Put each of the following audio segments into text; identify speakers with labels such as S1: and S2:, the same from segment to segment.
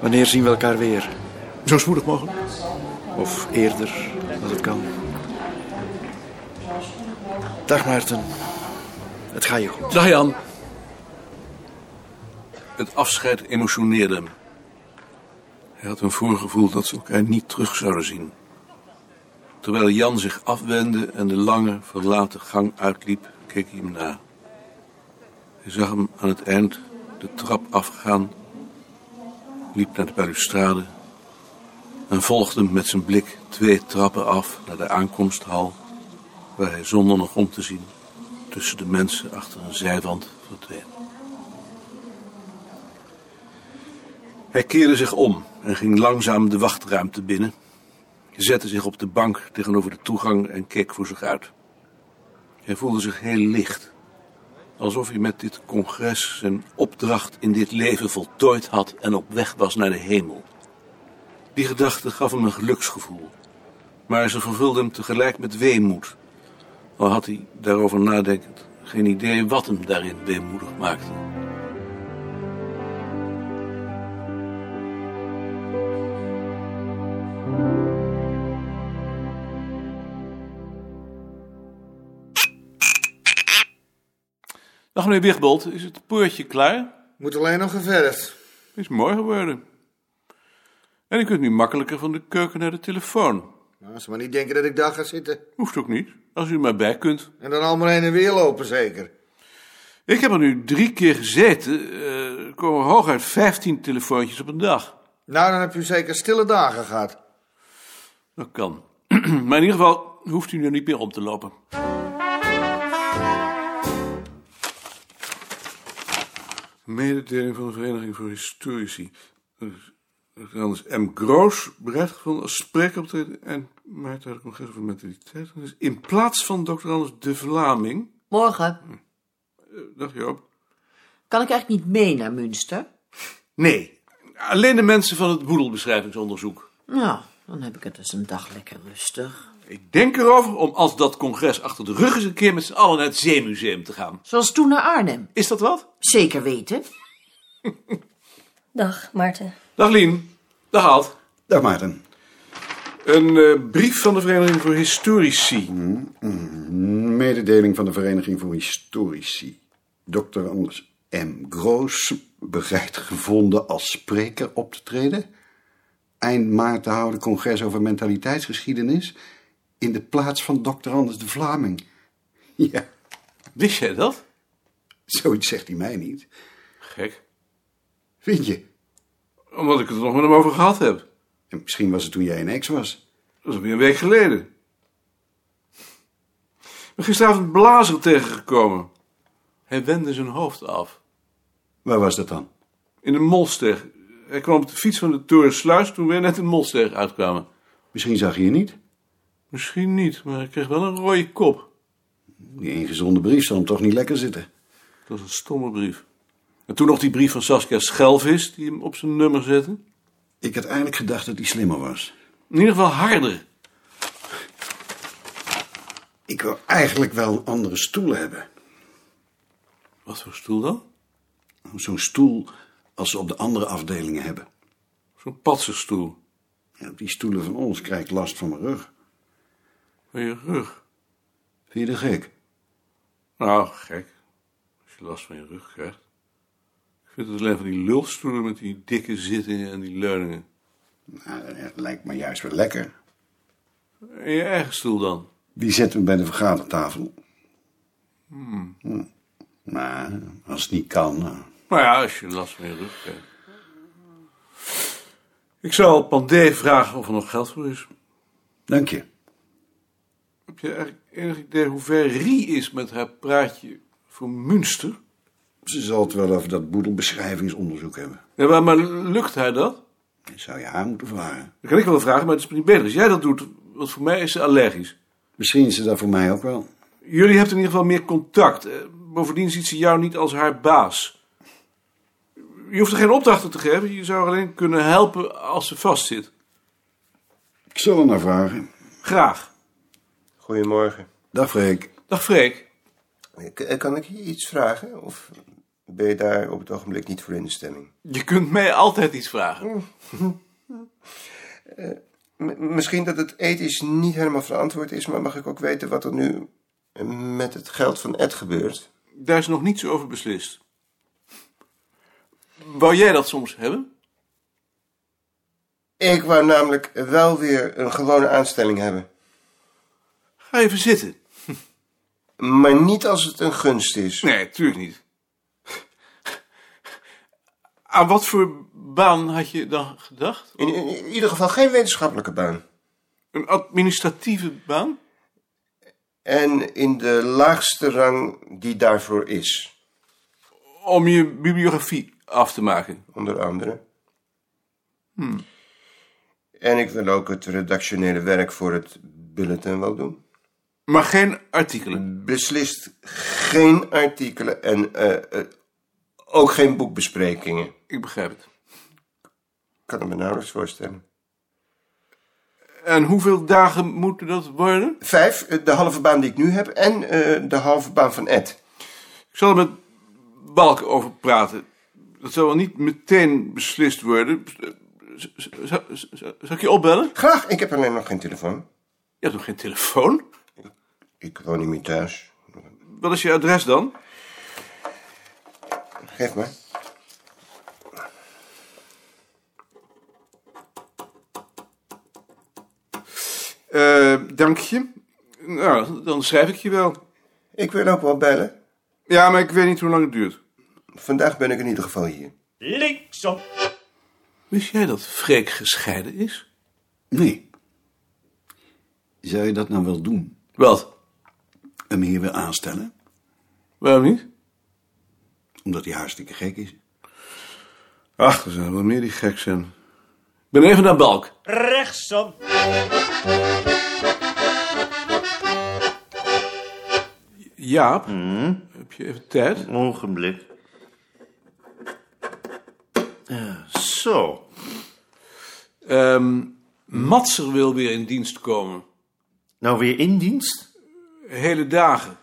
S1: Wanneer zien we elkaar weer?
S2: Zo spoedig mogelijk.
S1: Of eerder, als het kan. Dag Maarten. Het gaat je goed.
S2: Dag Jan.
S3: Het afscheid emotioneerde hem. Hij had een voorgevoel dat ze elkaar niet terug zouden zien. Terwijl Jan zich afwendde en de lange, verlaten gang uitliep, keek hij hem na. Hij zag hem aan het eind de trap afgaan, liep naar de balustrade en volgde hem met zijn blik twee trappen af naar de aankomsthal, waar hij zonder nog om te zien tussen de mensen achter een zijwand verdween. Hij keerde zich om en ging langzaam de wachtruimte binnen, zette zich op de bank tegenover de toegang en keek voor zich uit. Hij voelde zich heel licht, alsof hij met dit congres zijn opdracht in dit leven voltooid had en op weg was naar de hemel. Die gedachte gaf hem een geluksgevoel, maar ze vervulde hem tegelijk met weemoed, al had hij daarover nadenkend geen idee wat hem daarin weemoedig maakte.
S4: Dag meneer Wigbold, is het poortje klaar?
S5: Moet alleen nog geverfd.
S4: Is mooi geworden. En u kunt nu makkelijker van de keuken naar de telefoon.
S5: Nou, als ze maar niet denken dat ik daar ga zitten.
S4: Hoeft ook niet, als u maar bij kunt.
S5: En dan allemaal heen en weer lopen, zeker.
S4: Ik heb er nu drie keer gezeten. Eh, Er komen hooguit 15 telefoontjes op een dag.
S5: Nou, dan heb je zeker stille dagen gehad.
S4: Dat kan. maar in ieder geval hoeft u nu niet meer om te lopen. Mededeling van de Vereniging voor Historici. Anders M. Groos, bereid gevonden als spreker op de en maart uit het congres over mentaliteit. Dus in plaats van Dr. Anders de Vlaming.
S6: Morgen.
S4: Eh, Dag Joop.
S6: Kan ik eigenlijk niet mee naar Münster?
S4: Nee, alleen de mensen van het boedelbeschrijvingsonderzoek.
S6: Nou, dan heb ik het dus een dag lekker rustig.
S4: Ik denk erover om als dat congres achter de rug is een keer met z'n allen naar het Zeemuseum te gaan.
S6: Zoals toen naar Arnhem.
S4: Is dat wat?
S6: Zeker weten.
S7: Dag, Maarten.
S4: Dag Lien. Dag Alt.
S8: Dag Maarten.
S4: Een eh, brief van de Vereniging voor Historici.
S8: Mededeling van de Vereniging voor Historici. Dr. Anders M. Groos, bereid gevonden als spreker op te treden. Eind maart te houden congres over mentaliteitsgeschiedenis. In de plaats van Dr. Anders de Vlaming. Ja,
S4: Wist jij dat?
S8: zoiets zegt hij mij niet.
S4: Gek.
S8: Vind je?
S4: Omdat ik het er nog met hem over gehad heb.
S8: En misschien was het toen jij een ex was.
S4: Dat is alweer een week geleden. Ik ben gisteravond Blazer tegengekomen. Hij wendde zijn hoofd af.
S8: Waar was dat dan?
S4: In de Molsteeg. Hij kwam op de fiets van de Torensluis toen we net in Molsteeg uitkwamen.
S8: Misschien zag je je niet.
S4: Misschien niet, maar hij kreeg wel een rode kop.
S8: Die ingezonde brief zal hem toch niet lekker zitten.
S4: Dat was een stomme brief. En toen nog die brief van Saskia Schelvis, die hem op zijn nummer zette.
S8: Ik had eigenlijk gedacht dat hij slimmer was.
S4: In ieder geval harder.
S8: Ik wil eigenlijk wel een andere stoel hebben.
S4: Wat voor stoel dan?
S8: Zo'n stoel als ze op de andere afdelingen hebben.
S4: Zo'n patsenstoel.
S8: Ja, op die stoelen van ons krijg ik last van mijn rug.
S4: Van je rug.
S8: Vind je dat gek?
S4: Nou, gek. Als je last van je rug krijgt. Ik vind het alleen van die lulstoelen met die dikke zittingen en die leuningen.
S8: Nou, het lijkt me juist wel lekker.
S4: En je eigen stoel dan?
S8: Die zetten we bij de vergadertafel. Hm. Maar als het niet kan... nou.
S4: Nou ja, als je last van je rug krijgt. Ik zal Pandé vragen of er nog geld voor is.
S8: Dank je.
S4: Heb je eigenlijk enig idee hoe ver Rie is met haar praatje voor Münster?
S8: Ze zal het wel over dat boedelbeschrijvingsonderzoek hebben.
S4: Ja, maar, maar lukt haar dat?
S8: Dat zou je haar moeten vragen.
S4: Dat kan ik wel vragen, maar het is niet beter als jij dat doet. Want voor mij is ze allergisch.
S8: Misschien is ze dat voor mij ook wel.
S4: Jullie hebben in ieder geval meer contact. Eh, Bovendien ziet ze jou niet als haar baas. Je hoeft er geen opdrachten te geven. Je zou haar alleen kunnen helpen als ze vastzit.
S8: Ik zal hem naar vragen.
S4: Graag.
S5: Goedemorgen.
S8: Dag Freek.
S4: Dag Freek.
S5: eh, Kan ik je iets vragen? Of ben je daar op het ogenblik niet voor in de stemming?
S4: Je kunt mij altijd iets vragen.
S5: M- misschien dat het ethisch niet helemaal verantwoord is, maar mag ik ook weten wat er nu eh, met het geld van Ed gebeurt?
S4: Daar is nog niets over beslist. Wou jij dat soms hebben?
S5: Ik wou namelijk wel weer een gewone aanstelling hebben.
S4: Ga even zitten.
S5: Maar niet als het een gunst is.
S4: Nee, tuurlijk niet. Aan wat voor baan had je dan gedacht?
S5: In, in- in ieder geval geen wetenschappelijke baan.
S4: Een administratieve baan?
S5: En in de laagste rang die daarvoor is,
S4: Om je bibliografie af te maken.
S5: onder andere. En ik wil ook het redactionele werk voor het bulletin wel doen.
S4: Maar geen artikelen.
S5: Beslist geen artikelen en eh, eh, ook geen boekbesprekingen.
S4: Ik begrijp het.
S5: Ik kan het me nauwelijks voorstellen.
S4: En hoeveel dagen moeten dat worden?
S5: Vijf, eh, de halve baan die ik nu heb en eh, de halve baan van Ed.
S4: Ik zal er met Balk over praten. Dat zal wel niet meteen beslist worden. Z- z- z- z- Zal ik je opbellen?
S5: Graag, ik heb alleen nog geen telefoon.
S4: Je hebt nog geen telefoon?
S5: Ik woon niet meer thuis.
S4: Wat is je adres dan?
S5: Geef maar.
S4: Eh, dank je. Nou, dan schrijf ik je wel.
S5: Ik wil ook wel bellen.
S4: Ja, maar ik weet niet hoe lang het duurt.
S5: Vandaag ben ik in ieder geval hier.
S9: Linksom.
S4: Wist jij dat Freek gescheiden is?
S8: Nee. Zou je dat nou wel doen?
S4: Wat?
S8: Hem hier weer aanstellen?
S4: Waarom niet?
S8: Omdat hij hartstikke gek is.
S4: Ach, er zijn wel meer die gek zijn. Ik ben even naar Balk.
S9: Rechtsom.
S4: Jaap, heb je even tijd?
S9: Ogenblik. Ja, Eh, Zo.
S4: Ehm Matser wil weer in dienst komen.
S9: Nou weer in dienst?
S4: Hele dagen.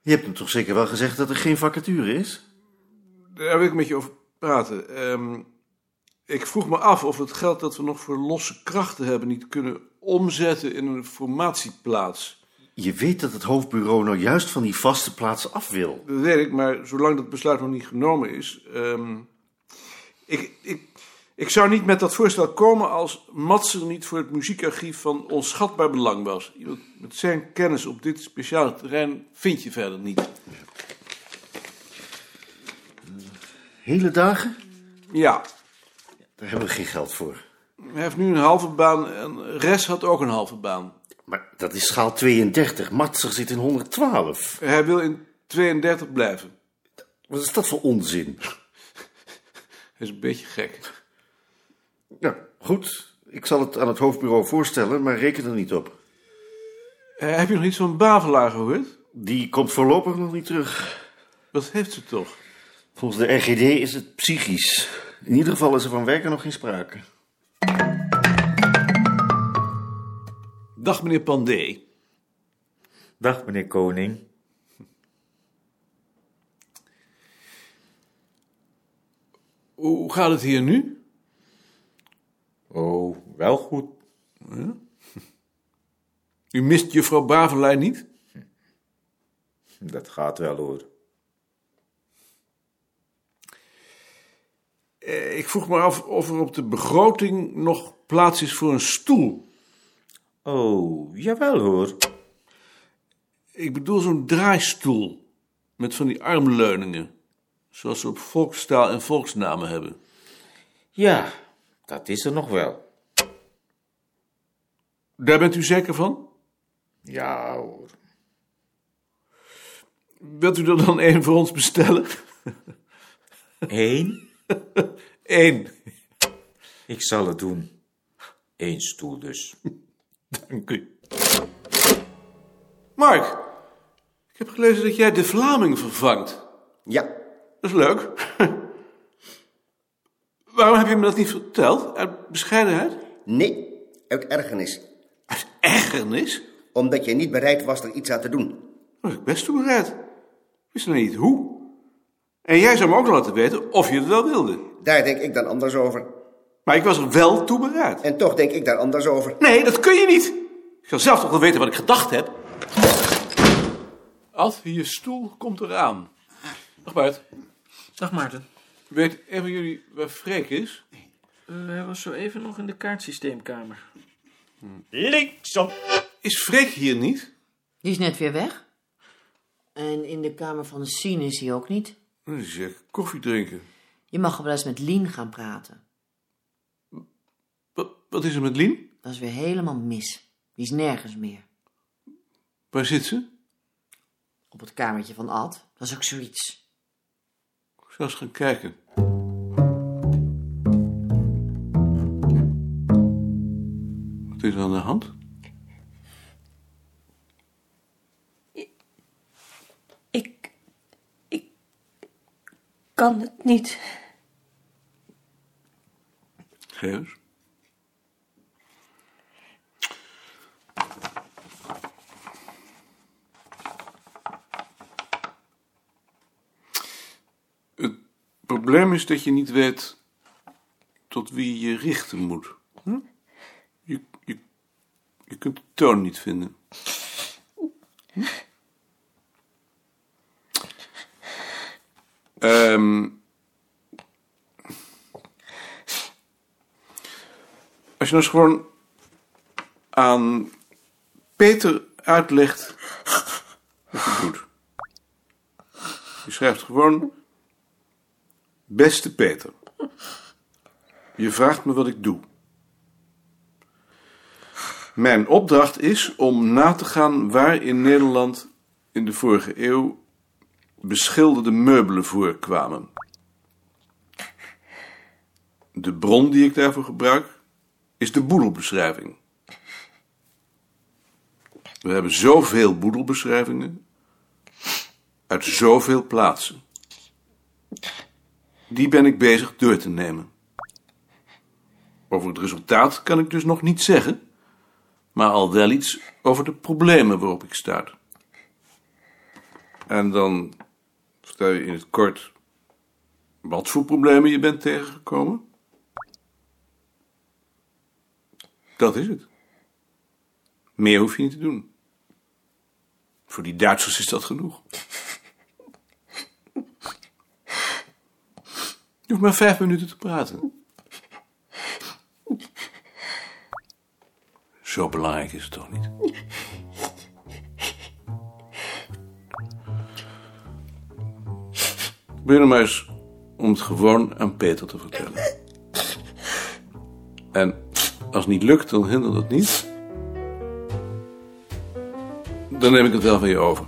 S9: Je hebt hem toch zeker wel gezegd dat er geen vacature is?
S4: Daar wil ik met je over praten. Ehm, ik vroeg me af of we het geld dat we nog voor losse krachten hebben... niet kunnen omzetten in een formatieplaats.
S9: Je weet dat het hoofdbureau nou juist van die vaste plaats af wil.
S4: Dat weet ik, maar zolang dat besluit nog niet genomen is... ehm, ik, ik, ik zou niet met dat voorstel komen als Matser niet voor het muziekarchief van onschatbaar belang was. Iemand met zijn kennis op dit speciale terrein vind je verder niet.
S9: Hele dagen?
S4: Ja,
S9: Daar hebben we geen geld voor.
S4: hij heeft nu een halve baan en Res had ook een halve baan.
S9: Maar dat is schaal 32. Matser zit in 112.
S4: Hij wil in 32 blijven.
S9: Wat is dat voor onzin?
S4: Hij is een beetje gek.
S9: Ja, goed. Ik zal het aan het hoofdbureau voorstellen, maar reken er niet op.
S4: Eh, heb je nog iets van Bavelaar gehoord?
S9: Die komt voorlopig nog niet terug.
S4: Wat heeft ze toch?
S9: Volgens de RGD is het psychisch. In ieder geval is er van werken nog geen sprake.
S4: Dag meneer Pandé.
S10: Dag, meneer Koning.
S4: Hoe gaat het hier nu?
S10: Oh, wel goed.
S4: U mist juffrouw Bavelaar niet?
S10: Dat gaat wel hoor.
S4: Eh, ik vroeg me af of er op de begroting nog plaats is voor een stoel.
S10: Oh, jawel hoor.
S4: Ik bedoel zo'n draaistoel. Met van die armleuningen. Zoals ze op volkstaal en volksnamen hebben.
S10: Ja, dat is er nog wel.
S4: Daar bent u zeker van?
S10: Ja hoor.
S4: Wilt u er dan één voor ons bestellen?
S10: Eén?
S4: Eén.
S10: Ik zal het doen. Eén stoel dus. Dank u.
S4: Mark, ik heb gelezen dat jij de Vlaming vervangt.
S5: Ja,
S4: Dat is leuk. Waarom heb je me dat niet verteld? Uit bescheidenheid?
S5: Nee, ook ergernis.
S4: Uit ergernis?
S5: Omdat je niet bereid was er iets aan te doen.
S4: Dat was ik best toe bereid. Ik Wist nou niet hoe. En jij zou me ook laten weten of je het wel wilde.
S11: Daar denk ik dan anders over.
S4: Maar ik was er wel toe bereid.
S11: En toch denk ik daar anders over.
S4: Nee, dat kun je niet. Ik zou zelf toch wel weten wat ik gedacht heb. Ad, je stoel komt eraan. Dag Bart.
S12: Dag Maarten.
S4: Weet een van jullie waar Freek is?
S12: Eh, hij was zo even nog in de kaartsysteemkamer.
S10: Linksom.
S4: Is Freek hier niet?
S6: Die is net weer weg. En in de kamer van Sien is hij ook niet.
S4: Dan is hij eh, koffie drinken.
S6: Je mag wel eens met Lien gaan praten.
S4: Wat, wat is er met Lien?
S6: Dat is weer helemaal mis. Die is nergens meer.
S4: Waar zit ze?
S6: Op het kamertje van Ad. Dat is ook zoiets.
S4: Ik zou eens gaan kijken. Wat is er aan de hand?
S7: Ik. Ik. kan het niet.
S4: Geef eens. Het probleem is dat je niet weet tot wie je je richten moet. Hm? Je, je, je kunt de toon niet vinden. Hm? Ehm, als je nou eens gewoon aan Peter uitlegt wat je doet. Je schrijft gewoon, beste Peter, je vraagt me wat ik doe. Mijn opdracht is om na te gaan waar in Nederland in de vorige eeuw beschilderde meubelen voorkwamen. De bron die ik daarvoor gebruik is de boedelbeschrijving. We hebben zoveel boedelbeschrijvingen uit zoveel plaatsen. Die ben ik bezig door te nemen. Over het resultaat kan ik dus nog niet zeggen, maar al wel iets over de problemen waarop ik stuit. En dan vertel je in het kort wat voor problemen je bent tegengekomen. Dat is het. Meer hoef je niet te doen. Voor die Duitsers is dat genoeg. Je hoeft maar vijf minuten te praten. Zo belangrijk is het toch niet? Probeer nou maar eens om het gewoon aan Peter te vertellen. En als het niet lukt, dan hindert dat niet. Dan neem ik het wel van je over.